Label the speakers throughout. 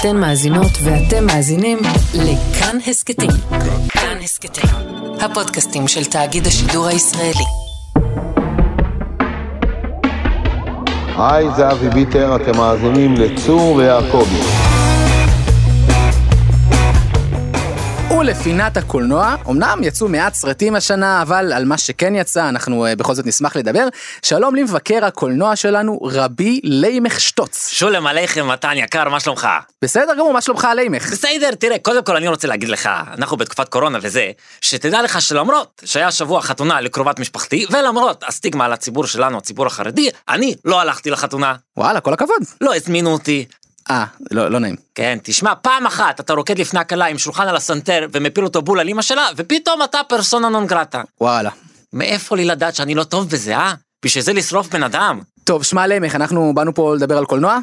Speaker 1: אתן מאזינות ואתם מאזינים לכאן הסכתים. כאן הסכתים, הפודקאסטים של תאגיד השידור הישראלי.
Speaker 2: היי, זה אבי ביטר, אתם מאזינים לצור ויעקבי.
Speaker 3: ולפינת הקולנוע, אמנם יצאו מעט סרטים השנה, אבל על מה שכן יצא, אנחנו אה, בכל זאת נשמח לדבר. שלום למבקר הקולנוע שלנו, רבי ליימך שטוץ.
Speaker 4: שולם עליכם, מתן יקר, מה שלומך?
Speaker 3: בסדר גמור, מה שלומך ליימך?
Speaker 4: בסדר, תראה, קודם כל אני רוצה להגיד לך, אנחנו בתקופת קורונה וזה, שתדע לך שלמרות שהיה שבוע חתונה לקרובת משפחתי, ולמרות הסטיגמה על הציבור שלנו, הציבור החרדי, אני לא הלכתי לחתונה,
Speaker 3: וואלה, כל הכבוד.
Speaker 4: לא הזמינו אותי.
Speaker 3: אה, לא, לא נעים.
Speaker 4: כן, תשמע, פעם אחת אתה רוקד לפני הכלה עם שולחן על הסנטר ומפיל אותו בול על אמא שלה, ופתאום אתה פרסונה נון גרטה.
Speaker 3: וואלה.
Speaker 4: מאיפה לי לדעת שאני לא טוב בזה, אה? בשביל זה לשרוף בן אדם?
Speaker 3: טוב, שמע ליימך, אנחנו באנו פה לדבר על קולנוע?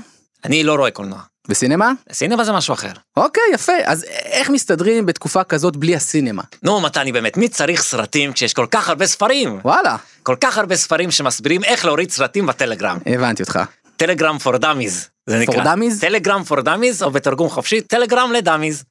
Speaker 4: אני לא רואה קולנוע.
Speaker 3: בסינמה?
Speaker 4: סינמה זה משהו אחר.
Speaker 3: אוקיי, יפה. אז איך מסתדרים בתקופה כזאת בלי הסינמה?
Speaker 4: נו, מתני, באמת, מי צריך סרטים כשיש כל כך הרבה ספרים?
Speaker 3: וואלה,
Speaker 4: כל כך הרבה ספרים שמסבירים איך להוריד סרטים בטלגרם.
Speaker 3: הבנתי אותך.
Speaker 4: טלגרם פור דאמיז, זה נקרא.
Speaker 3: For Dummies?
Speaker 4: טלגרם פור דאמיז, או בתרגום חופשי, טלגרם לדאמיז.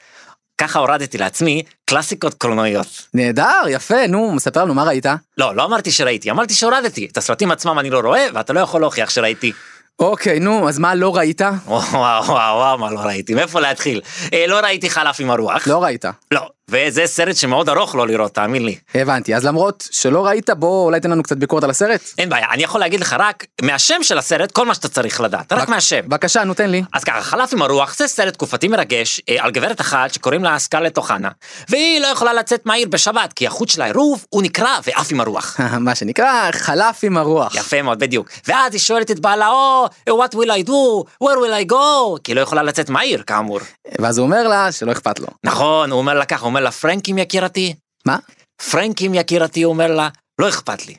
Speaker 4: ככה הורדתי לעצמי קלאסיקות קולנועיות.
Speaker 3: נהדר, יפה, נו, מספר לנו מה ראית?
Speaker 4: לא, לא אמרתי שראיתי, אמרתי שהורדתי. את הסרטים עצמם אני לא רואה, ואתה לא יכול להוכיח שראיתי.
Speaker 3: אוקיי, נו, אז מה לא ראית?
Speaker 4: וואו, וואו, וואו, מה לא ראיתי, מאיפה להתחיל? אה, לא ראיתי חלף עם הרוח.
Speaker 3: לא ראית.
Speaker 4: לא. וזה סרט שמאוד ארוך לא לראות, תאמין לי.
Speaker 3: הבנתי, אז למרות שלא ראית, בוא אולי תן לנו קצת ביקורת על הסרט.
Speaker 4: אין בעיה, אני יכול להגיד לך רק מהשם של הסרט כל מה שאתה צריך לדעת, רק מהשם.
Speaker 3: בבקשה, נו תן לי.
Speaker 4: אז ככה, חלף עם הרוח זה סרט תקופתי מרגש אה, על גברת אחת שקוראים לה סקרלט אוחנה, והיא לא יכולה לצאת מהעיר בשבת כי החוט שלה עירוב, הוא נקרע ועף עם הרוח.
Speaker 3: מה שנקרא, חלף עם הרוח.
Speaker 4: יפה מאוד, בדיוק. ואז היא שואלת את בעלה, או, אה, what will I do? where will I go? כי היא לא יכולה לצאת מהעיר, כאמור.
Speaker 3: ואז הוא אומר לה שלא אכפת לו.
Speaker 4: נכון, הוא אומר לה ככה, הוא אומר לה, פרנקים יקירתי,
Speaker 3: מה?
Speaker 4: פרנקים יקירתי, הוא אומר לה, לא אכפת לי.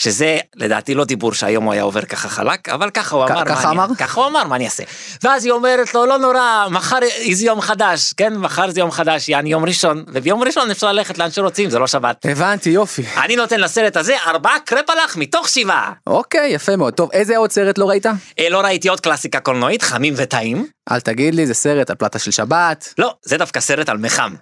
Speaker 4: שזה לדעתי לא דיבור שהיום הוא היה עובר ככה חלק, אבל ככה הוא
Speaker 3: כ-
Speaker 4: אמר. מה
Speaker 3: ככה
Speaker 4: אני-
Speaker 3: אמר?
Speaker 4: ככה הוא אמר, מה אני אעשה? ואז היא אומרת לו, לא נורא, מחר זה יום חדש, כן? מחר זה יום חדש, יעני יום ראשון, וביום ראשון אפשר ללכת לאן שרוצים, זה לא שבת.
Speaker 3: הבנתי, יופי.
Speaker 4: אני נותן לסרט הזה ארבעה קרפלח מתוך שבעה.
Speaker 3: אוקיי, יפה מאוד. טוב, איזה עוד סרט לא ראית?
Speaker 4: אה, לא ראיתי עוד קלאסיקה קולנועית, חמים וטעים.
Speaker 3: אל תגיד לי, זה סרט על פלטה של שבת.
Speaker 4: לא, זה דווקא סרט על מחם.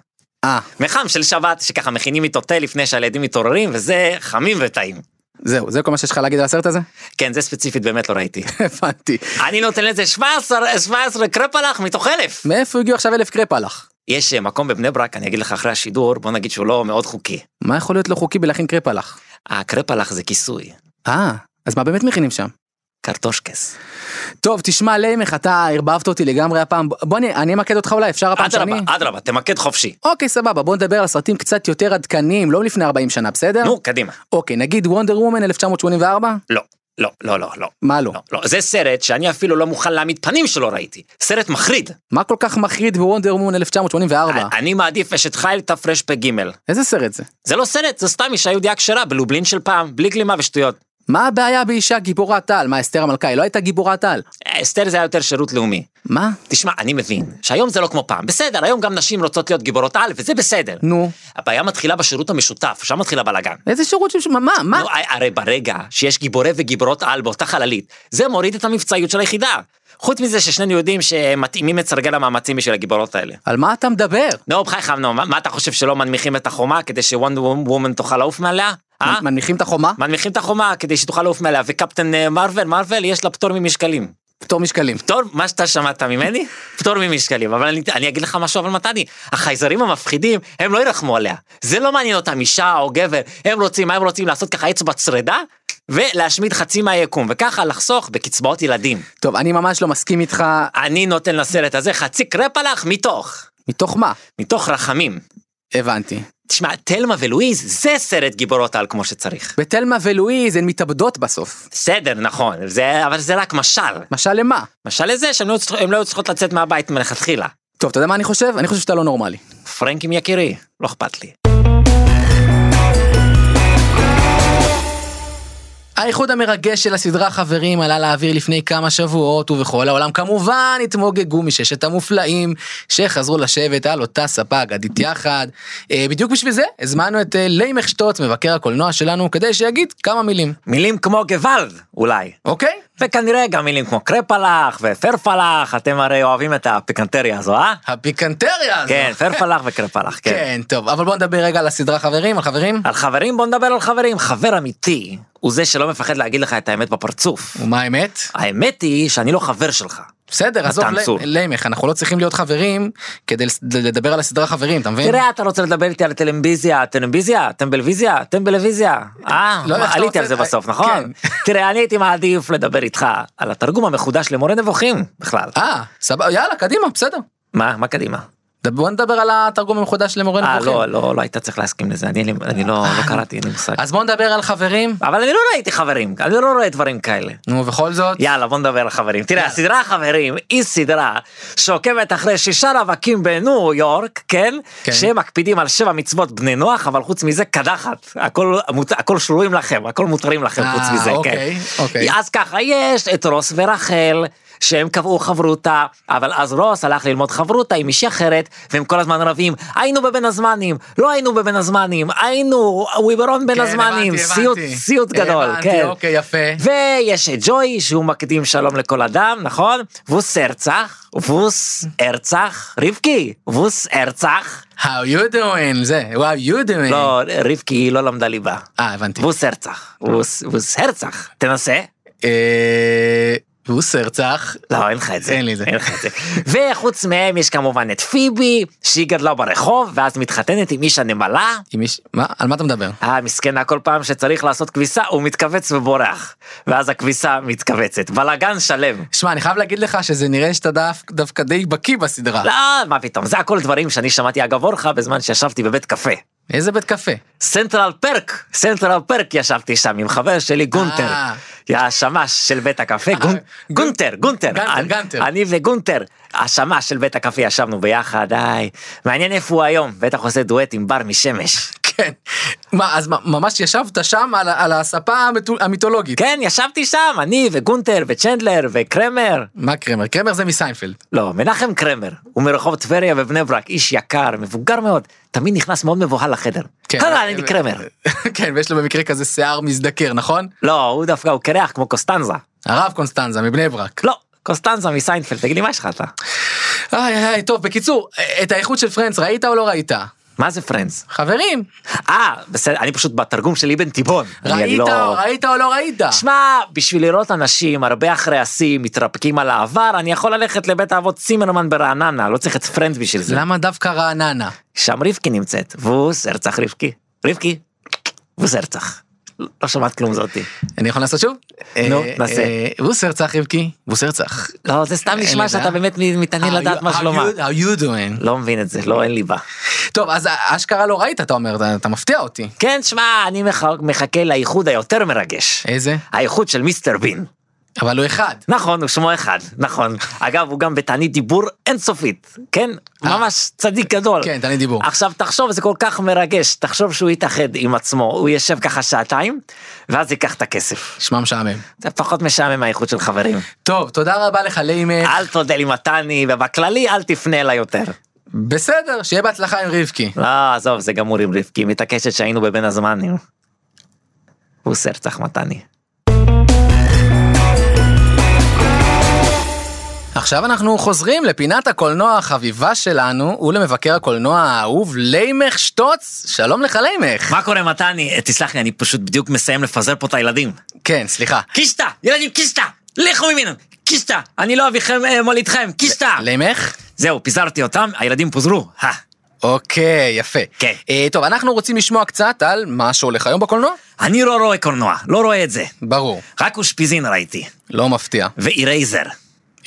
Speaker 3: אה,
Speaker 4: מחם של שבת, שככה מכינים איתו תה לפני שהילדים מתעוררים, וזה חמים וטעים.
Speaker 3: זהו, זה כל מה שיש לך להגיד על הסרט הזה?
Speaker 4: כן, זה ספציפית באמת לא ראיתי.
Speaker 3: הבנתי.
Speaker 4: אני נותן לזה 17, 17 קרפלח מתוך אלף.
Speaker 3: מאיפה הגיעו עכשיו אלף קרפ הלך?
Speaker 4: יש אה, מקום בבני ברק, אני אגיד לך אחרי השידור, בוא נגיד שהוא לא מאוד חוקי.
Speaker 3: מה יכול להיות לא חוקי בלהכין קרפ הלך?
Speaker 4: הקרפלח זה כיסוי,
Speaker 3: אה, אז מה באמת מכינים שם?
Speaker 4: קרטושקס.
Speaker 3: טוב, תשמע, ליימך, אתה ערבבת אותי לגמרי הפעם. ב- בוא, אני- אני אמקד אותך אולי, אפשר הפעם שאני...
Speaker 4: אדרבה, אדרבה, תמקד חופשי.
Speaker 3: אוקיי, סבבה, בוא נדבר על סרטים קצת יותר עדכניים, לא לפני 40 שנה, בסדר?
Speaker 4: נו, קדימה.
Speaker 3: אוקיי, נגיד וונדר וומן 1984?
Speaker 4: לא, לא, לא, לא, לא.
Speaker 3: מה לא?
Speaker 4: לא, לא. זה סרט שאני אפילו לא מוכן להעמיד פנים שלא ראיתי. סרט מחריד. אה,
Speaker 3: מה כל כך מחריד בוונדר וומן 1984?
Speaker 4: אני מעדיף אשת חיל תרפ"ג.
Speaker 3: איזה סרט זה?
Speaker 4: זה לא סרט, זה סתם אישה יהודייה כשרה בלובלין של פעם, בלי גלימה ושטויות.
Speaker 3: מה הבעיה באישה גיבורת על? מה, אסתר המלכה היא לא הייתה גיבורת על?
Speaker 4: אה, אסתר זה היה יותר שירות לאומי.
Speaker 3: מה?
Speaker 4: תשמע, אני מבין שהיום זה לא כמו פעם. בסדר, היום גם נשים רוצות להיות גיבורות על, וזה בסדר.
Speaker 3: נו.
Speaker 4: הבעיה מתחילה בשירות המשותף, שם מתחיל הבלאגן.
Speaker 3: איזה שירות של... מה? מה?
Speaker 4: לא, הרי ברגע שיש גיבורי וגיבורות על באותה חללית, זה מוריד את המבצעיות של היחידה. חוץ מזה ששנינו יודעים שמתאימים את סרגל המאמצים בשביל הגיבורות האלה.
Speaker 3: על מה אתה מדבר?
Speaker 4: נו, בחייך, נו, מה מה אתה חושב שלא מנמיכים את החומה כדי שוונד וומן תוכל לעוף מעליה? אה?
Speaker 3: מנ- מנמיכים את החומה?
Speaker 4: מנמיכים את החומה כדי שתוכל לעוף מעליה, וקפטן אה, מרוויל, מרוויל יש לה פטור ממשקלים.
Speaker 3: פטור משקלים.
Speaker 4: פטור, מה שאתה שמעת ממני, פטור ממשקלים. אבל אני, אני אגיד לך משהו, אבל מתני, החייזרים המפחידים, הם לא ירחמו עליה. זה לא מעניין אותם, אישה או גבר, הם רוצים, מה הם רוצים לעשות ככה אצבע צרדה, ולהשמיד חצי מהיקום, וככה לחסוך בקצבאות ילדים.
Speaker 3: טוב, אני ממש לא מסכים איתך.
Speaker 4: אני נותן לסרט הזה חצי קרפלח מתוך,
Speaker 3: מתוך מה?
Speaker 4: מתוך רחמים.
Speaker 3: הבנתי.
Speaker 4: תשמע, תלמה ולואיז, זה סרט גיבורות על כמו שצריך.
Speaker 3: בתלמה ולואיז הן מתאבדות בסוף.
Speaker 4: בסדר, נכון, זה, אבל זה רק משל.
Speaker 3: משל למה?
Speaker 4: משל לזה שהן לא, היו צריכות- הן לא היו צריכות לצאת מהבית מלכתחילה.
Speaker 3: טוב, אתה יודע מה אני חושב? אני חושב שאתה לא נורמלי.
Speaker 4: פרנקים יקירי, לא אכפת לי.
Speaker 3: האיחוד המרגש של הסדרה חברים עלה לאוויר לפני כמה שבועות ובכל העולם כמובן התמוגגו מששת המופלאים שחזרו לשבת על אותה ספה אגדית יחד. אה, בדיוק בשביל זה הזמנו את אה, ליימך שטוץ מבקר הקולנוע שלנו כדי שיגיד כמה מילים.
Speaker 4: מילים כמו גוואלד, אולי.
Speaker 3: אוקיי?
Speaker 4: וכנראה גם מילים כמו קרפלח ופרפלח, אתם הרי אוהבים את הפיקנטריה הזו, אה?
Speaker 3: הפיקנטריה הזו.
Speaker 4: כן, פרפלח וקרפלח, כן.
Speaker 3: כן, טוב, אבל בוא נדבר רגע על הסדרה חברים, על חברים.
Speaker 4: על חברים, בוא נדבר על חברים. חבר אמיתי הוא זה שלא מפחד להגיד לך את האמת בפרצוף.
Speaker 3: ומה האמת?
Speaker 4: האמת היא שאני לא חבר שלך.
Speaker 3: בסדר, עזוב,
Speaker 4: צור.
Speaker 3: לימך, אנחנו לא צריכים להיות חברים כדי לס- לדבר על הסדרה חברים, אתה מבין?
Speaker 4: תראה, אתה רוצה לדבר איתי על טלמביזיה, טלמביזיה, טמבלוויזיה, טמבלוויזיה. אה,
Speaker 3: לא, איך
Speaker 4: מה,
Speaker 3: שאתה
Speaker 4: עליתי על
Speaker 3: רוצה,
Speaker 4: זה בסוף,
Speaker 3: אה,
Speaker 4: נכון? תראה, אני הייתי מעדיף לדבר איתך על התרגום המחודש למורה נבוכים בכלל.
Speaker 3: אה, סבבה, יאללה, קדימה, בסדר.
Speaker 4: מה, מה קדימה?
Speaker 3: דבר- בוא נדבר על התרגום המחודש למורה
Speaker 4: אה,
Speaker 3: נבוכים.
Speaker 4: לא, לא, לא היית צריך להסכים לזה, אני אין לי- אני לא לא קראתי, אין לי מושג.
Speaker 3: אז בוא נדבר על חברים.
Speaker 4: אבל אני לא ראיתי חברים, אני לא רואה דברים כאלה.
Speaker 3: נו, בכל זאת.
Speaker 4: יאללה בוא נדבר על חברים. תראה, הסדרה חברים היא סדרה שעוקבת אחרי שישה רווקים בניו יורק, כן?
Speaker 3: כן.
Speaker 4: שמקפידים על שבע מצוות בני נוח, אבל חוץ מזה קדחת. הכל, מות- הכל שרויים לכם, הכל מותרים לכם
Speaker 3: אה,
Speaker 4: חוץ מזה, כן.
Speaker 3: אוקיי, אוקיי.
Speaker 4: אז ככה, יש את רוס ורחל. שהם קבעו חברותה, אבל אז רוס הלך ללמוד חברותה עם אישה אחרת, והם כל הזמן רבים, היינו בבין הזמנים, לא היינו בבין הזמנים, היינו, וויברון בין
Speaker 3: כן,
Speaker 4: הזמנים,
Speaker 3: הבנתי,
Speaker 4: סיוט,
Speaker 3: הבנתי.
Speaker 4: סיוט גדול,
Speaker 3: הבנתי,
Speaker 4: כן.
Speaker 3: אוקיי, יפה.
Speaker 4: ויש את ג'וי שהוא מקדים שלום לכל אדם, נכון? ווס ארצח, ווס ארצח, רבקי, ווס ארצח.
Speaker 3: How you doing? זה, how you doing?
Speaker 4: לא, רבקי היא לא למדה ליבה.
Speaker 3: אה, הבנתי.
Speaker 4: ווס ארצח, ווס ווס הרצח, תנסה.
Speaker 3: אה, בוס הרצח.
Speaker 4: לא, אין לך את זה.
Speaker 3: אין לי את זה.
Speaker 4: אין לך את זה. וחוץ מהם יש כמובן את פיבי, שהיא גדלה ברחוב, ואז מתחתנת עם איש הנמלה.
Speaker 3: עם מיש- מה? על מה אתה מדבר?
Speaker 4: אה, מסכנה, כל פעם שצריך לעשות כביסה, הוא מתכווץ ובורח. ואז הכביסה מתכווצת. בלאגן שלם.
Speaker 3: שמע, אני חייב להגיד לך שזה נראה שאתה דווק- דווקא די בקיא בסדרה.
Speaker 4: לא, מה פתאום, זה הכל דברים שאני שמעתי אגב אורחה בזמן שישבתי בבית קפה.
Speaker 3: איזה בית קפה.
Speaker 4: סנטרל פרק, סנטרל פרק ישבתי שם עם חבר שלי גונטר,
Speaker 3: אה.
Speaker 4: השמש של בית הקפה, גונ-
Speaker 3: גונ-
Speaker 4: גונטר, גונטר,
Speaker 3: גנטר,
Speaker 4: אני-
Speaker 3: גנטר.
Speaker 4: אני וגונטר, השמש של בית הקפה ישבנו ביחד, היי, מעניין איפה הוא היום, בטח עושה דואט עם בר משמש.
Speaker 3: כן. מה, אז מה- ממש ישבת שם על ה- על הספה המתו- המיתולוגית.
Speaker 4: כן, ישבתי שם, אני וגונטר וצ'נדלר וקרמר,
Speaker 3: מה קרמר? קרמר זה מסיינפלד.
Speaker 4: לא, מנחם קרמר, הוא מרחוב טבריה בבני ברק, איש יקר, מבוגר מאוד, תמיד נכנס מאוד מבוהל לחדר.
Speaker 3: כן.
Speaker 4: הלו, אה, אני קרמר.
Speaker 3: כן, ויש לו במקרה כזה שיער מזדקר, נכון?
Speaker 4: לא, הוא דווקא, הוא קרח כמו קוסטנזה.
Speaker 3: הרב קונסטנזה מבני ברק.
Speaker 4: לא, קוסטנזה מסיינפלד, תגיד לי מה יש לך אתה?
Speaker 3: איי איי איי, טוב, בקיצור, את האיכות של פרנץ ראית או לא ראית?
Speaker 4: מה זה פרנדס?
Speaker 3: חברים,
Speaker 4: אה, בסדר, אני פשוט בתרגום של אבן תיבון. אני- אני
Speaker 3: ראית,
Speaker 4: לא-
Speaker 3: ראית או לא ראית?
Speaker 4: שמע, בשביל לראות אנשים הרבה אחרי השיא מתרפקים על העבר, אני יכול ללכת לבית האבות צימרמן ברעננה, לא צריך את פרנדס בשביל זה.
Speaker 3: למה דווקא רעננה?
Speaker 4: שם רבקי נמצאת. ווס, הרצח רבקי. רבקי, ווס הרצח. לא שמעת כלום זאתי.
Speaker 3: אני יכול לעשות שוב?
Speaker 4: נו,
Speaker 3: אה,
Speaker 4: נעשה.
Speaker 3: אה, בוסר צח רבקי, בוסר צח.
Speaker 4: לא, זה סתם
Speaker 3: אין לי
Speaker 4: נשמע שאתה
Speaker 3: בעיה.
Speaker 4: באמת מתעניין
Speaker 3: How
Speaker 4: לדעת
Speaker 3: you-
Speaker 4: מה
Speaker 3: how
Speaker 4: שלומה.
Speaker 3: you- How you doing?
Speaker 4: לא מבין את זה, לא, אין לי בה.
Speaker 3: טוב, אז אשכרה לא ראית, אתה אומר, אתה- אתה מפתיע אותי.
Speaker 4: כן, שמע, אני מח... מחכה לאיחוד היותר מרגש.
Speaker 3: איזה?
Speaker 4: האיחוד של מיסטר בין.
Speaker 3: אבל הוא אחד.
Speaker 4: נכון, הוא שמו אחד, נכון. אגב, הוא גם בתענית דיבור אינסופית, כן?
Speaker 3: אה.
Speaker 4: ממש צדיק גדול.
Speaker 3: כן, תעני דיבור.
Speaker 4: עכשיו תחשוב, זה כל כך מרגש, תחשוב שהוא יתאחד עם עצמו, הוא יושב ככה שעתיים, ואז ייקח את הכסף.
Speaker 3: שמע משעמם.
Speaker 4: זה פחות משעמם מהאיחוד של חברים.
Speaker 3: טוב, תודה רבה לך לימך.
Speaker 4: אל תודה לי מתני, ובכללי אל תפנה אליי יותר.
Speaker 3: בסדר, שיהיה בהצלחה עם רבקי.
Speaker 4: לא, עזוב, זה גמור עם רבקי, היא מתעקשת שהיינו בבין הזמנים. הוא סרצח מתני.
Speaker 3: עכשיו אנחנו חוזרים לפינת הקולנוע החביבה שלנו ולמבקר הקולנוע האהוב לימך שטוץ. שלום לך לימך.
Speaker 4: מה קורה מתני? אה, תסלח לי, אני פשוט בדיוק מסיים לפזר פה את הילדים.
Speaker 3: כן, סליחה.
Speaker 4: קישטה! ילדים, קישטה! לכו ממנו! קישטה! אני לא אביכם אה, מולידכם! קישטה!
Speaker 3: לימך?
Speaker 4: זהו, פיזרתי אותם, הילדים פוזרו. הא.
Speaker 3: אוקיי, יפה.
Speaker 4: כן.
Speaker 3: אה, טוב, אנחנו רוצים לשמוע קצת על מה שהולך היום בקולנוע.
Speaker 4: אני לא רואה קולנוע, לא רואה את זה.
Speaker 3: ברור.
Speaker 4: רק אושפיזין ראיתי.
Speaker 3: לא מפתיע.
Speaker 4: ואירייזר.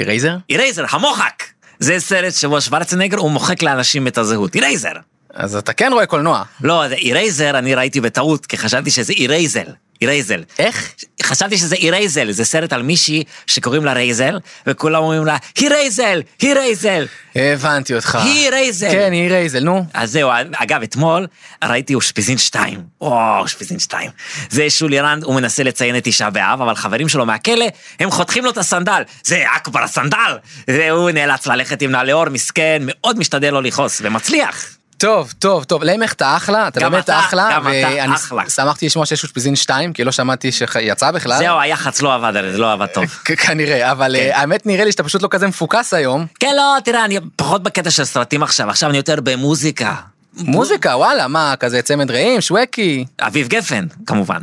Speaker 3: אירייזר?
Speaker 4: אירייזר, המוחק! זה סרט שבו שוורצנגר הוא מוחק לאנשים את הזהות. אירייזר!
Speaker 3: אז אתה כן רואה קולנוע.
Speaker 4: לא, זה אירייזר אני ראיתי בטעות, כי חשבתי שזה אירייזל. אירייזל.
Speaker 3: איך?
Speaker 4: חשבתי שזה אירייזל, זה סרט על מישהי שקוראים לה רייזל, וכולם אומרים לה, היא רייזל! היא רייזל!
Speaker 3: הבנתי אותך.
Speaker 4: היא אירייזל.
Speaker 3: כן, היא אירייזל, נו.
Speaker 4: אז זהו, אגב, אתמול ראיתי אושפיזין 2. או, אושפיזין 2. זה שולי רנד, הוא מנסה לציין את תשעה באב, אבל חברים שלו מהכלא, הם חותכים לו את הסנדל. זה אכבר הסנדל! והוא נאלץ ללכת עם נעלי אור, מסכן, מאוד משתדל לא לכעוס, ומצליח.
Speaker 3: טוב, טוב, טוב, להימך אתה אחלה, אתה
Speaker 4: גם
Speaker 3: באמת
Speaker 4: אתה,
Speaker 3: אחלה,
Speaker 4: גם אתה
Speaker 3: ואני
Speaker 4: אחלה.
Speaker 3: שמחתי לשמוע שיש אושפיזין 2, כי לא שמעתי שיצא בכלל.
Speaker 4: זהו, היח"צ לא עבד, הרי זה לא עבד טוב.
Speaker 3: כ- כנראה, אבל אה, האמת נראה לי שאתה פשוט לא כזה מפוקס היום.
Speaker 4: כן, לא, תראה, אני פחות בקטע של סרטים עכשיו, עכשיו אני יותר במוזיקה.
Speaker 3: מוזיקה, וואלה, מה, כזה צמד רעים, שווקי,
Speaker 4: אביב גפן, כמובן.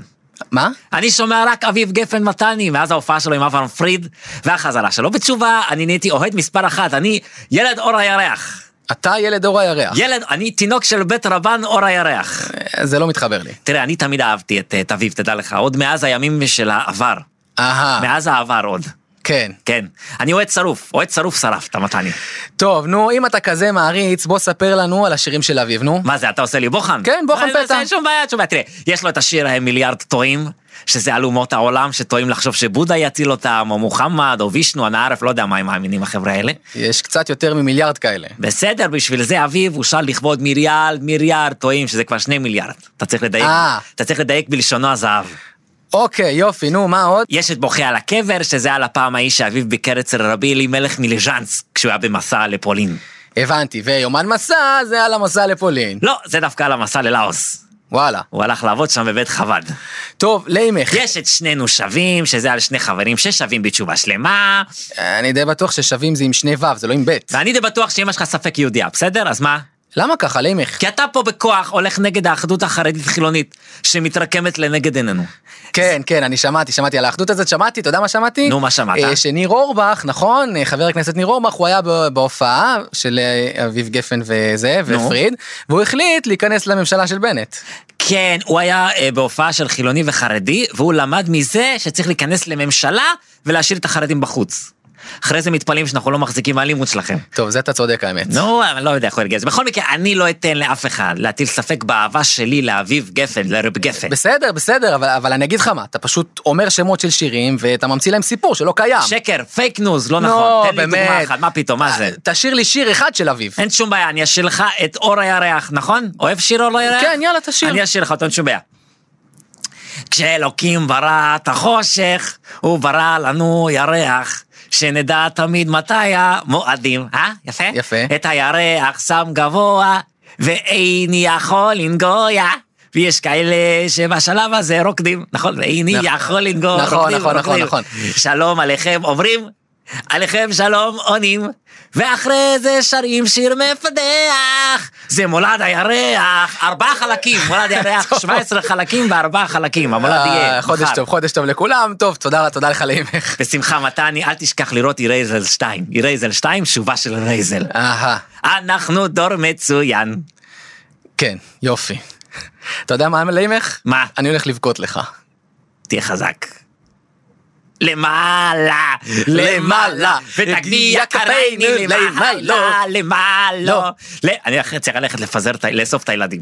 Speaker 3: מה?
Speaker 4: אני שומע רק אביב גפן מתני, מאז ההופעה שלו עם אברהם פריד, והחזרה שלו. בתשובה, אני נהייתי אוהד מספר אחת, אני ילד אור הירח.
Speaker 3: אתה ילד אור הירח.
Speaker 4: ילד, אני תינוק של בית רבן אור הירח.
Speaker 3: אה, זה לא מתחבר לי.
Speaker 4: תראה, אני תמיד אהבתי את אה, את אביב, תדע לך, עוד מאז הימים של העבר.
Speaker 3: אהה,
Speaker 4: מאז העבר עוד.
Speaker 3: כן.
Speaker 4: כן. אני אוהד שרוף, אוהד שרוף שרפת, מתני.
Speaker 3: טוב, נו, אם אתה כזה מעריץ, בוא ספר לנו על השירים של אביב, נו.
Speaker 4: מה זה, אתה עושה לי בוחן?
Speaker 3: כן, בוחן
Speaker 4: אה,
Speaker 3: פתע.
Speaker 4: אין שום בעיה, אין שום בעיה. תראה, יש לו את השיר אה, מיליארד טועים, שזה על אומות העולם, שטועים לחשוב שבודה יציל אותם, או מוחמד, או וישנו, הנערף, לא יודע מה הם מאמינים החבר'ה האלה.
Speaker 3: יש קצת יותר ממיליארד כאלה.
Speaker 4: בסדר, בשביל זה אביב הוא שר לכבוד מיריאל, מיריארד, טועים, שזה כבר שני מיליארד. אתה צריך לדייק,
Speaker 3: אה.
Speaker 4: אתה צריך לדייק בלשונו הזהב.
Speaker 3: אוקיי, יופי, נו, מה עוד?
Speaker 4: יש את בוכה על הקבר, שזה על הפעם ההיא שאביו ביקר אצל רבי אלימלך מליז'אנס, כשהוא היה במסע לפולין.
Speaker 3: הבנתי, ויומן מסע זה על המסע לפולין.
Speaker 4: לא, זה דווקא על המסע ללאוס.
Speaker 3: וואלה.
Speaker 4: הוא הלך לעבוד שם בבית חב"ד.
Speaker 3: טוב, לימך.
Speaker 4: יש את שנינו שווים, שזה על שני חברים ששווים בתשובה שלמה,
Speaker 3: אני די בטוח ששווים זה עם שני ו', זה לא עם ב'.
Speaker 4: ואני די בטוח שאמא שלך ספק יהודייה, בסדר? אז מה?
Speaker 3: למה ככה, לימך?
Speaker 4: כי אתה פה בכוח הולך נגד האחדות החרדית-חילונית, שמתרקמת לנגד עינינו.
Speaker 3: כן, כן, אני שמעתי, שמעתי על האחדות הזאת, שמעתי, אתה יודע מה שמעתי?
Speaker 4: נו, מה שמעת?
Speaker 3: אה, שניר אורבך, נכון, אה, חבר הכנסת ניר אורבך, הוא היה ב- בהופעה של אה, אביב גפן וזה,
Speaker 4: נו.
Speaker 3: ופריד, והוא החליט להיכנס לממשלה של בנט.
Speaker 4: כן, הוא היה אה, בהופעה של חילוני וחרדי, והוא למד מזה שצריך להיכנס לממשלה ולהשאיר את החרדים בחוץ. אחרי זה מתפלאים שאנחנו לא מחזיקים מהאלימות שלכם.
Speaker 3: טוב, זה אתה צודק האמת.
Speaker 4: נו, אני לא יודע איך הוא הרגיז. בכל מקרה, אני לא אתן לאף אחד להטיל ספק באהבה שלי לאביב גפן, לרב גפן.
Speaker 3: בסדר, בסדר, אבל, אבל אני אגיד לך מה, אתה פשוט אומר שמות של שירים ואתה ממציא להם סיפור שלא קיים.
Speaker 4: שקר, פייק ניוז, לא
Speaker 3: נו,
Speaker 4: נכון. תן לי
Speaker 3: באמת. אה,
Speaker 4: דוגמה אחת, מה פתאום, מה זה? כן,
Speaker 3: תשאיר לי שיר אחד של אביב.
Speaker 4: אין שום בעיה, אני אשאיר לך את אור הירח, נכון? אוהב שיר אור הירח?
Speaker 3: כן, יאללה, תשאיר.
Speaker 4: אני אשאיר לך אותו, אין שום בעיה. כשאלוקים ברא את החושך, הוא ברא לנו ירח, שנדע תמיד מתי המועדים. אה? יפה?
Speaker 3: יפה.
Speaker 4: את הירח שם גבוה, ואיני יכול לנגויה. ויש כאלה שבשלב הזה רוקדים, נכון? ואיני
Speaker 3: נכון.
Speaker 4: יכול לנגוע,
Speaker 3: נכון,
Speaker 4: רוקדים,
Speaker 3: נכון, נכון,
Speaker 4: רוקדים.
Speaker 3: נכון.
Speaker 4: שלום עליכם אומרים, עליכם שלום עונים, ואחרי זה שרים שיר מפדח, זה מולד הירח, ארבעה חלקים, מולד הירח, 17 חלקים וארבעה חלקים, המולד יהיה.
Speaker 3: אה, חודש
Speaker 4: מחר.
Speaker 3: טוב, חודש טוב לכולם, טוב, תודה תודה לך לאימך.
Speaker 4: בשמחה מתני, אל תשכח לראות אירייזל 2, אירייזל 2, שובה של אירייזל.
Speaker 3: אהה,
Speaker 4: אנחנו דור מצוין.
Speaker 3: כן, יופי. אתה יודע מה לאימך?
Speaker 4: מה?
Speaker 3: אני הולך לבכות לך.
Speaker 4: תהיה חזק. למעלה, למעלה, ותגניע כפינו למעלה, לא. למעלה. ל- אני אחרי צריך ללכת לפזר, את ה- לאסוף את הילדים.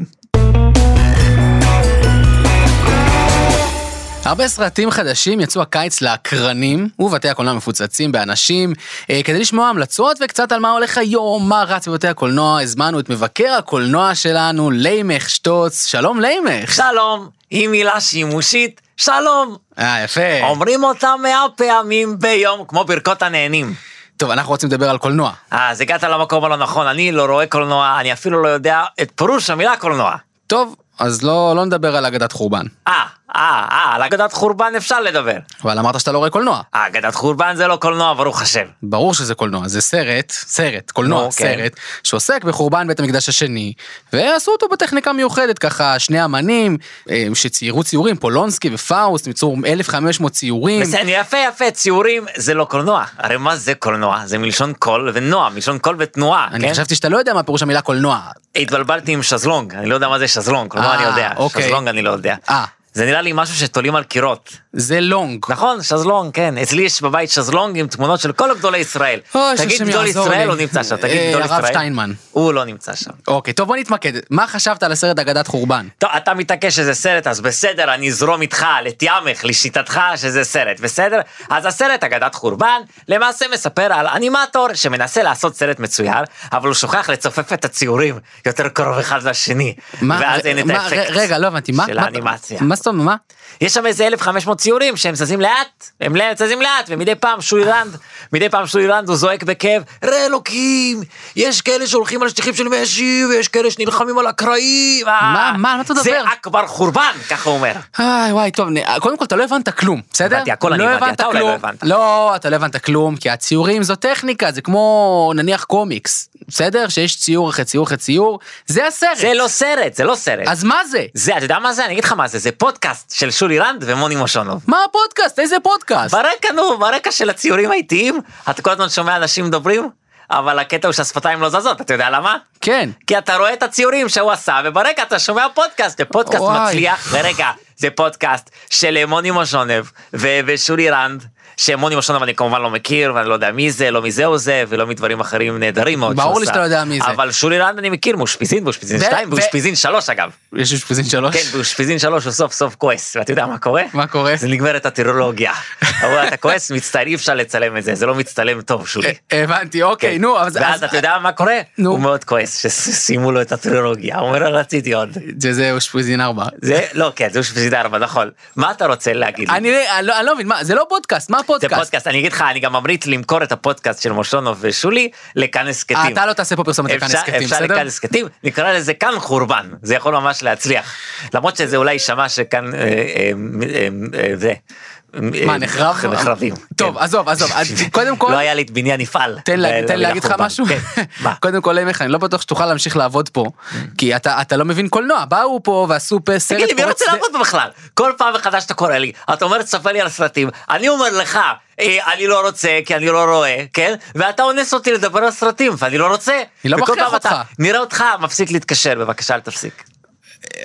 Speaker 3: הרבה סרטים חדשים יצאו הקיץ לאקרנים ובתי הקולנוע מפוצצים באנשים אה, כדי לשמוע המלצות וקצת על מה הולך היום, מה רץ בבתי הקולנוע, הזמנו את מבקר הקולנוע שלנו, לימך שטוץ, שלום לימך.
Speaker 4: שלום, היא מילה שימושית, שלום.
Speaker 3: אה, יפה.
Speaker 4: אומרים אותה מאה פעמים ביום, כמו ברכות הנהנים.
Speaker 3: טוב, אנחנו רוצים לדבר על קולנוע.
Speaker 4: אז הגעת למקום הלא נכון, אני לא רואה קולנוע, אני אפילו לא יודע את פירוש המילה קולנוע.
Speaker 3: טוב, אז לא, לא נדבר על אגדת חורבן.
Speaker 4: אה, אה, אה, על אגדת חורבן אפשר לדבר.
Speaker 3: אבל אמרת שאתה לא רואה קולנוע.
Speaker 4: אה, אגדת חורבן זה לא קולנוע, ברוך השם.
Speaker 3: ברור שזה קולנוע, זה סרט, סרט, קולנוע,
Speaker 4: נו, כן.
Speaker 3: סרט, שעוסק בחורבן בית המקדש השני, ועשו אותו בטכניקה מיוחדת, ככה שני אמנים אה, שציירו ציורים, פולונסקי ופאוסט, ניצור 1500 ציורים.
Speaker 4: בסדר, יפה יפה, ציורים זה לא קולנוע. הרי מה זה קולנוע? זה מלשון קול ונוע, מלשון קול ותנועה,
Speaker 3: אני
Speaker 4: כן?
Speaker 3: חשבתי שאתה לא יודע מה פירוש המילה קולנוע.
Speaker 4: התבלבלתי עם שזלונג, אני לא יודע מה זה שזלונג, קולנוע
Speaker 3: אה,
Speaker 4: אני יודע,
Speaker 3: אוקיי.
Speaker 4: שזלונג אני לא יודע.
Speaker 3: אה.
Speaker 4: זה נראה לי משהו שתולים על קירות.
Speaker 3: זה לונג.
Speaker 4: נכון, שזלונג, כן. אצלי יש בבית שזלונג עם תמונות של כל גדולי ישראל.
Speaker 3: אוי,
Speaker 4: תגיד
Speaker 3: שהשם
Speaker 4: גדול
Speaker 3: יעזור
Speaker 4: ישראל,
Speaker 3: לי.
Speaker 4: הוא נמצא שם,
Speaker 3: אה,
Speaker 4: תגיד גדול
Speaker 3: הרב
Speaker 4: ישראל.
Speaker 3: שטיינמן.
Speaker 4: הוא לא נמצא שם.
Speaker 3: אוקיי, טוב בוא נתמקד. מה חשבת על הסרט אגדת חורבן?
Speaker 4: טוב, אתה מתעקש שזה סרט, אז בסדר, אני אזרום איתך, לטעמך, לשיטתך שזה סרט, בסדר? אז הסרט אגדת חורבן, למעשה מספר על אנימטור שמנסה לעשות סרט מצויר, אבל הוא שוכח לצופף את הציורים יותר קרוב אחד לשני.
Speaker 3: מה-
Speaker 4: ואז אין את
Speaker 3: מה-
Speaker 4: האפקט
Speaker 3: ר- רגע, לא הבנתי, מה-
Speaker 4: של
Speaker 3: מה-
Speaker 4: האנימציה.
Speaker 3: מה זאת סתום, מה?
Speaker 4: יש שם איזה 1,500 ציורים שהם זזים לאט, הם לאט, זזים לאט, ומדי פעם שוירנד, מדי פעם שוירנד הוא זועק בכאב, ראה אלוקים, יש כאלה שהולכים על שטיחים של משי, ויש כאלה שנלחמים על הקרעים. אה,
Speaker 3: מה, מה, על מה אתה
Speaker 4: זה
Speaker 3: מדבר?
Speaker 4: אכבר חורבן, ככה הוא אומר.
Speaker 3: איי וואי טוב נ- קודם כל אתה לא הבנת כלום בסדר?
Speaker 4: הבנתי, הכל אני
Speaker 3: לא
Speaker 4: הבנתי, אתה אולי לא
Speaker 3: כלום.
Speaker 4: הבנת.
Speaker 3: לא אתה לא הבנת כלום כי הציורים זו טכניקה זה כמו נניח קומיקס בסדר שיש ציור אחרי ציור אחרי ציור זה הסרט
Speaker 4: זה לא סרט, זה לא סרט.
Speaker 3: אז מה זה
Speaker 4: זה, אתה יודע מה זה? אני אגיד לך מה זה, זה פודקאסט של שולי רנד ומוני מושונוב.
Speaker 3: מה הפודקאסט איזה פודקאסט
Speaker 4: ברקע, נו, ברקע של הציורים האיטיים, אתה כל הזמן שומע אנשים מדברים, אבל הקטע הוא שהשפתיים לא זזות, אתה יודע למה?
Speaker 3: כן
Speaker 4: כי אתה רואה את הציורים שהוא עשה, וברקע אתה שומע פודקאסט, זה פודקאסט
Speaker 3: וואי.
Speaker 4: מצליח, ורגע, זה פודקאסט של מוני מושונב ו- ושולי רנד, שמוני מושונב אני כמובן לא מכיר, ואני לא יודע מי זה, לא מזהו זה, ולא מדברים אחרים נהדרים מאוד
Speaker 3: ברור
Speaker 4: שהוא
Speaker 3: לי
Speaker 4: עשה.
Speaker 3: שאתה לא יודע מי זה.
Speaker 4: אבל שולי רנד אני מכיר, מאושפיזין, מאושפיזין
Speaker 3: ו-
Speaker 4: 2,
Speaker 3: ו-
Speaker 4: מאושפיזין 3 אגב.
Speaker 3: יש אשפוזין שלוש
Speaker 4: כן, באושפיזין 3 הוא סוף סוף כועס, ואתה יודע מה קורה?
Speaker 3: מה קורה?
Speaker 4: זה נגמרת הטרולוגיה. אבל אתה כועס, מצטער, אי אפשר לצלם את זה, זה לא מצטלם טוב, שולי.
Speaker 3: אה, הבנתי אוקיי
Speaker 4: כן.
Speaker 3: נו אז
Speaker 4: ואז
Speaker 3: אז-
Speaker 4: אתה יודע מה קורה?
Speaker 3: נו.
Speaker 4: הוא מאוד כועס שסיימו לו את הטרילוגיה, הוא אומר "לא רציתי עוד.
Speaker 3: זה זה אשפוזין ארבע.
Speaker 4: זה לא כן זה שפסיד ארבע נכון מה אתה רוצה להגיד לי?
Speaker 3: אני אני לא אני לא מבין מה זה לא פודקאסט מה
Speaker 4: זה
Speaker 3: הפודקאסט.
Speaker 4: פודקאסט אני אגיד לך אני גם ממליץ למכור את הפודקאסט של מושונוב ושולי לכאן הסכתים.
Speaker 3: אתה לא תעשה פה פרסומת לכאן
Speaker 4: אפשר-
Speaker 3: הסכתים
Speaker 4: אפשר
Speaker 3: בסדר?
Speaker 4: לכאן הסכתים נקרא לזה כאן חורבן זה יכול ממש להצליח למרות שזה אולי יישמע שכאן אה, אה, אה, אה, זה.
Speaker 3: מה נחרב?
Speaker 4: נחרבים.
Speaker 3: טוב
Speaker 4: כן.
Speaker 3: עזוב עזוב אז קודם כל.
Speaker 4: לא היה לי את בניין מפעל.
Speaker 3: תן
Speaker 4: ל-
Speaker 3: לי תן לי
Speaker 4: למילה
Speaker 3: להגיד לך
Speaker 4: לא חורבן.
Speaker 3: משהו?
Speaker 4: כן, מה? Mm.
Speaker 3: קודם כל, עמך, אני לא בטוח שתוכל להמשיך לעבוד פה, כי אתה אתה לא מבין קולנוע, באו פה ועשו פה סרט
Speaker 4: תגיד לי, מי
Speaker 3: פורץ
Speaker 4: רוצה
Speaker 3: ד-
Speaker 4: לעבוד פה בכלל? כל פעם מחדש אתה קורא לי, אתה אומר, תספר לי על הסרטים, אני אומר לך, "אה, אני לא רוצה, כי אני לא רואה, כן? ואתה אונס אותי לדבר על סרטים, ואני לא רוצה.
Speaker 3: אני לא
Speaker 4: וכל
Speaker 3: מכריח
Speaker 4: פעם אתה-
Speaker 3: אותך.
Speaker 4: נראה אותך, מפסיק להתקשר, בבקשה, אל תפסיק.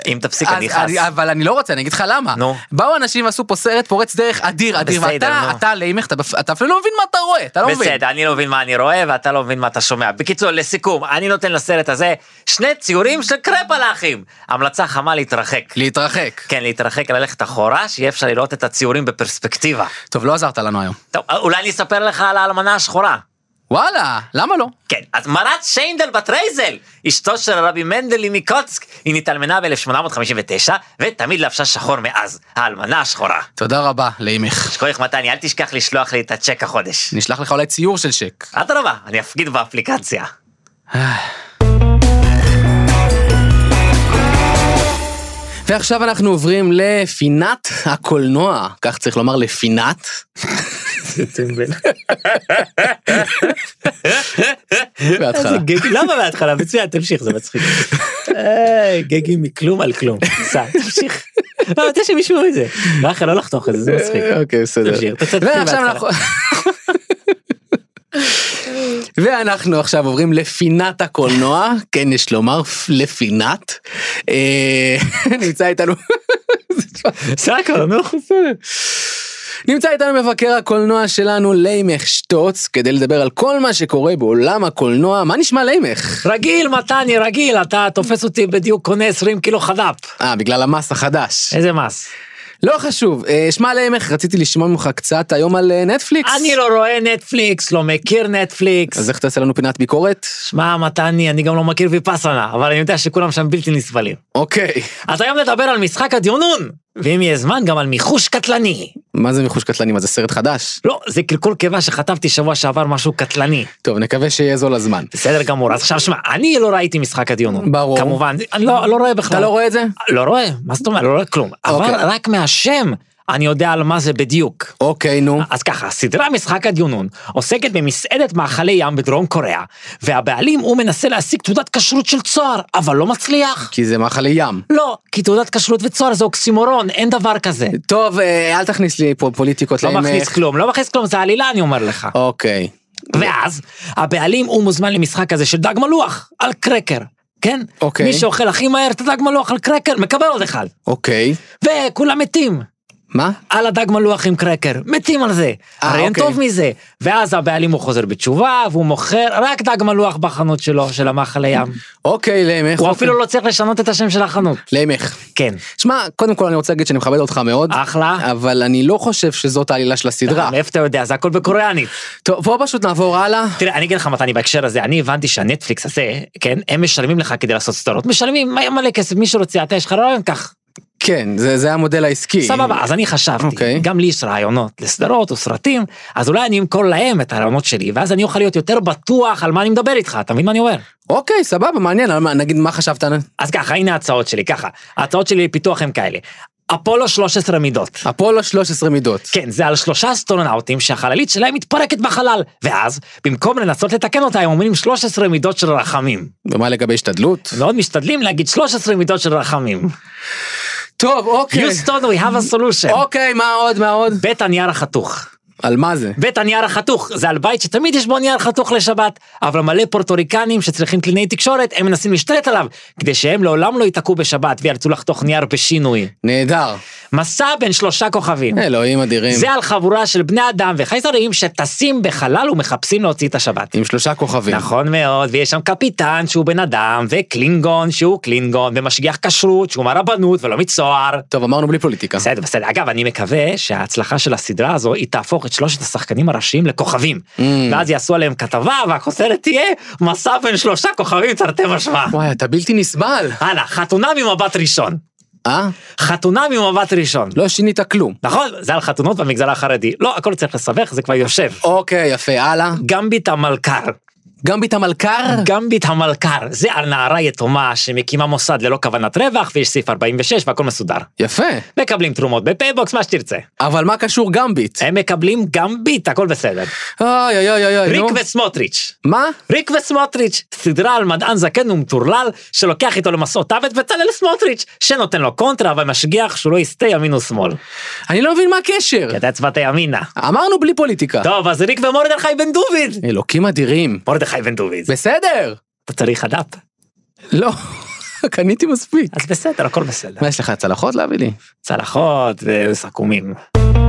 Speaker 4: אם תפסיק,
Speaker 3: אז
Speaker 4: אני אכעס.
Speaker 3: אני- אבל אני לא רוצה, אני אגיד לך למה.
Speaker 4: נו.
Speaker 3: באו אנשים ועשו פה סרט פורץ דרך אדיר, אדיר,
Speaker 4: בסדר,
Speaker 3: ואתה,
Speaker 4: נו.
Speaker 3: אתה לעמך, אתה בפ- אתה אפילו לא מבין מה אתה רואה, אתה לא מבין.
Speaker 4: בסדר, אני לא מבין מה אני רואה ואתה לא מבין מה אתה שומע. בקיצור, לסיכום, אני נותן לסרט הזה שני ציורים של קרפ על האחים. המלצה חמה להתרחק.
Speaker 3: להתרחק.
Speaker 4: כן, להתרחק, ללכת אחורה, שיהיה אפשר לראות את הציורים בפרספקטיבה.
Speaker 3: טוב, לא עזרת לנו היום.
Speaker 4: טוב, אולי אני אספר לך על האלמנה השחורה.
Speaker 3: וואלה, למה לא?
Speaker 4: כן, אז מרת שיינדל בת רייזל, אשתו של רבי מנדלי מקוצק, היא נתאלמנה ב-1859, ותמיד לבשה שחור מאז, האלמנה השחורה.
Speaker 3: תודה רבה, לעמך.
Speaker 4: שכוח מתני, אל תשכח לשלוח לי את הצ'ק החודש.
Speaker 3: נשלח לך אולי ציור של שק.
Speaker 4: אדרבה, אני אפקיד באפליקציה.
Speaker 3: ועכשיו אנחנו עוברים לפינת הקולנוע, כך צריך לומר לפינת. בהתחלה.
Speaker 4: למה בהתחלה? מצוין, תמשיך, זה מצחיק. גגים מכלום על כלום. סע, תמשיך. לא, רוצה שהם ישמעו את זה. רחל, לא לחתוך את זה, זה מצחיק.
Speaker 3: אוקיי, בסדר.
Speaker 4: תמשיך, אתה תתחיל
Speaker 3: ועכשיו
Speaker 4: בהתחלה.
Speaker 3: אנחנו... ואנחנו עכשיו עוברים לפינת הקולנוע, כן יש לומר, פ- לפינת. אה, נמצא איתנו...
Speaker 4: סקר, נו.
Speaker 3: נמצא איתנו מבקר הקולנוע שלנו, לימך שטוץ, כדי לדבר על כל מה שקורה בעולם הקולנוע. מה נשמע לימך?
Speaker 4: רגיל, מתני, רגיל, אתה תופס אותי בדיוק קונה 20 קילו חד"פ.
Speaker 3: אה, בגלל המס החדש.
Speaker 4: איזה מס?
Speaker 3: לא חשוב, אה, שמע לימך, רציתי לשמוע ממך קצת היום על אה, נטפליקס.
Speaker 4: אני לא רואה נטפליקס, לא מכיר
Speaker 3: אז
Speaker 4: נטפליקס.
Speaker 3: איך תעשה לנו פינת ביקורת?
Speaker 4: שמע, מתני, אני גם לא מכיר ויפאסנה, אבל אני יודע שכולם שם בלתי נסבלים.
Speaker 3: אוקיי.
Speaker 4: אז היום נדבר על משחק הדיונון, ואם יהיה זמן, גם על מיחוש קטלני.
Speaker 3: מה זה מחוש קטלני? מה זה סרט חדש?
Speaker 4: לא, זה קלקול קיבה שחטפתי שבוע שעבר משהו קטלני.
Speaker 3: טוב, נקווה שיהיה זול הזמן.
Speaker 4: בסדר גמור, אז עכשיו שמע, אני לא ראיתי משחק הדיונון.
Speaker 3: ברור.
Speaker 4: כמובן, אני לא לא רואה בכלל.
Speaker 3: אתה לא רואה את זה?
Speaker 4: לא רואה, מה זאת אומרת? לא רואה כלום. אבל
Speaker 3: אוקיי.
Speaker 4: רק מהשם אני יודע על מה זה בדיוק.
Speaker 3: אוקיי, נו.
Speaker 4: אז ככה, הסדרה משחק הדיונון עוסקת במסעדת מאכלי ים בדרום קוריאה, והבעלים הוא מנסה להשיג תעודת כשרות של צוהר, אבל לא מצליח.
Speaker 3: כי זה מאכלי ים.
Speaker 4: לא, כי תעודת כשרות וצוהר זה אוקסימורון, אין דבר כזה.
Speaker 3: טוב, אה, אל תכניס לי פה פוליטיקות
Speaker 4: לא
Speaker 3: לימך.
Speaker 4: מכניס כלום, לא מכניס כלום, זה עלילה אני אומר לך.
Speaker 3: אוקיי.
Speaker 4: ואז, הבעלים הוא מוזמן למשחק הזה של דג מלוח, על קרקר, כן?
Speaker 3: אוקיי.
Speaker 4: מי שאוכל הכי מהר את הדג מלוח על קרקר, מקבל עוד אחד.
Speaker 3: אוקיי.
Speaker 4: וכולם מתים.
Speaker 3: מה?
Speaker 4: על הדג מלוח עם קרקר, מתים על זה,
Speaker 3: אה,
Speaker 4: הרי אין
Speaker 3: אוקיי.
Speaker 4: טוב מזה. ואז הבעלים הוא חוזר בתשובה, והוא מוכר רק דג מלוח בחנות שלו, של המאכל הים.
Speaker 3: אוקיי, לימך.
Speaker 4: הוא
Speaker 3: אוקיי.
Speaker 4: אפילו לא צריך לשנות את השם של החנות.
Speaker 3: לימך.
Speaker 4: כן.
Speaker 3: שמע, קודם כל אני רוצה להגיד שאני מכבד אותך מאוד.
Speaker 4: אחלה.
Speaker 3: אבל אני לא חושב שזאת העלילה של הסדרה.
Speaker 4: מאיפה אתה יודע? זה הכל בקוריאנית.
Speaker 3: טוב, בוא פשוט נעבור הלאה.
Speaker 4: תראה, אני אגיד לך מתני בהקשר הזה, אני הבנתי שהנטפליקס הזה, כן, הם משלמים לך כדי לעשות סדרות. משלמים מלא- מלא כסף, מי שרוצה, אתה יש לך רעיון, קח.
Speaker 3: כן, זה זה המודל העסקי.
Speaker 4: סבבה, אז אני חשבתי,
Speaker 3: אוקיי.
Speaker 4: גם לי יש רעיונות לסדרות או סרטים, אז אולי אני אמכור להם את הרעיונות שלי, ואז אני אוכל להיות יותר בטוח על מה אני מדבר איתך, אתה מבין מה אני אומר?
Speaker 3: אוקיי, סבבה, מעניין, על מה- נגיד מה חשבת?
Speaker 4: אז ככה, הנה ההצעות שלי, ככה. ההצעות שלי לפיתוח הן כאלה. אפולו 13 מידות.
Speaker 3: אפולו 13 מידות.
Speaker 4: כן, זה על שלושה אסטרונאוטים שהחללית שלהם מתפרקת בחלל, ואז, במקום לנסות לתקן אותה, הם אומרים 13 מידות של רחמים.
Speaker 3: ומה לגבי השתדלות?
Speaker 4: הם מאוד משתדלים להגיד 13 מידות של רחמים.
Speaker 3: טוב, אוקיי.
Speaker 4: יוסטון, we have a solution.
Speaker 3: אוקיי, מה עוד, מה עוד?
Speaker 4: בית הנייר החתוך.
Speaker 3: על מה זה?
Speaker 4: בית הנייר החתוך, זה על בית שתמיד יש בו נייר חתוך לשבת, אבל מלא פורטוריקנים שצריכים קלינאי תקשורת, הם מנסים להשתלט עליו, כדי שהם לעולם לא ייתקעו בשבת וירצו לחתוך נייר בשינוי.
Speaker 3: נהדר.
Speaker 4: מסע בין שלושה כוכבים.
Speaker 3: אלוהים אדירים.
Speaker 4: זה על חבורה של בני אדם וחייזרים שטסים בחלל ומחפשים להוציא את השבת.
Speaker 3: עם שלושה כוכבים.
Speaker 4: נכון מאוד, ויש שם קפיטן שהוא בן אדם, וקלינגון שהוא קלינגון, ומשגיח כשרות שהוא מהרבנות ולא מצוהר.
Speaker 3: טוב, אמרנו בלי פוליטיקה.
Speaker 4: בסדר, בסדר. אגב, אני מקווה שההצלחה של הסדרה הזו, היא תהפוך את שלושת השחקנים הראשיים לכוכבים. ואז יעשו עליהם כתבה, והכותרת תהיה מסע בין שלושה כוכבים תרתי משמע.
Speaker 3: וואי, אתה בלתי נסבל.
Speaker 4: הלאה, חתונה ממבט ראשון.
Speaker 3: אה?
Speaker 4: חתונה ממבט ראשון.
Speaker 3: לא שינית כלום.
Speaker 4: נכון? זה על חתונות במגזר החרדי. לא, הכל צריך לסבך, זה כבר יושב.
Speaker 3: אוקיי, יפה, הלאה.
Speaker 4: גמבית המלכר.
Speaker 3: גמבית המלכר?
Speaker 4: גמבית המלכר, זה על נערה יתומה שמקימה מוסד ללא כוונת רווח, ויש סעיף 46 והכל מסודר.
Speaker 3: יפה.
Speaker 4: מקבלים תרומות בפייבוקס, מה שתרצה.
Speaker 3: אבל מה קשור גמבית?
Speaker 4: הם מקבלים גמבית, הכל בסדר.
Speaker 3: אוי אוי אוי אוי אוי,
Speaker 4: ריק
Speaker 3: אה, נו.
Speaker 4: וסמוטריץ'.
Speaker 3: מה?
Speaker 4: ריק וסמוטריץ', סדרה על מדען זקן ומטורלל שלוקח איתו למסעות את בצלאל סמוטריץ', שנותן לו קונטרה ומשגיח שהוא לא יסטה ימין ושמאל.
Speaker 3: אני לא מבין מה הקשר.
Speaker 4: כי אתה הצבעת ימינה.
Speaker 3: אמרנו בלי פוליטיקה.
Speaker 4: כן. טוב, אז ריק ומרדכי בן דוד.
Speaker 3: אלוקים אדירים.
Speaker 4: מרדכי בן דוד.
Speaker 3: בסדר.
Speaker 4: אתה צריך הדף.
Speaker 3: לא. קניתי מספיק.
Speaker 4: אז בסדר, הכל בסדר.
Speaker 3: מה יש לך צלחות להביא לי?
Speaker 4: צלחות וסכומים.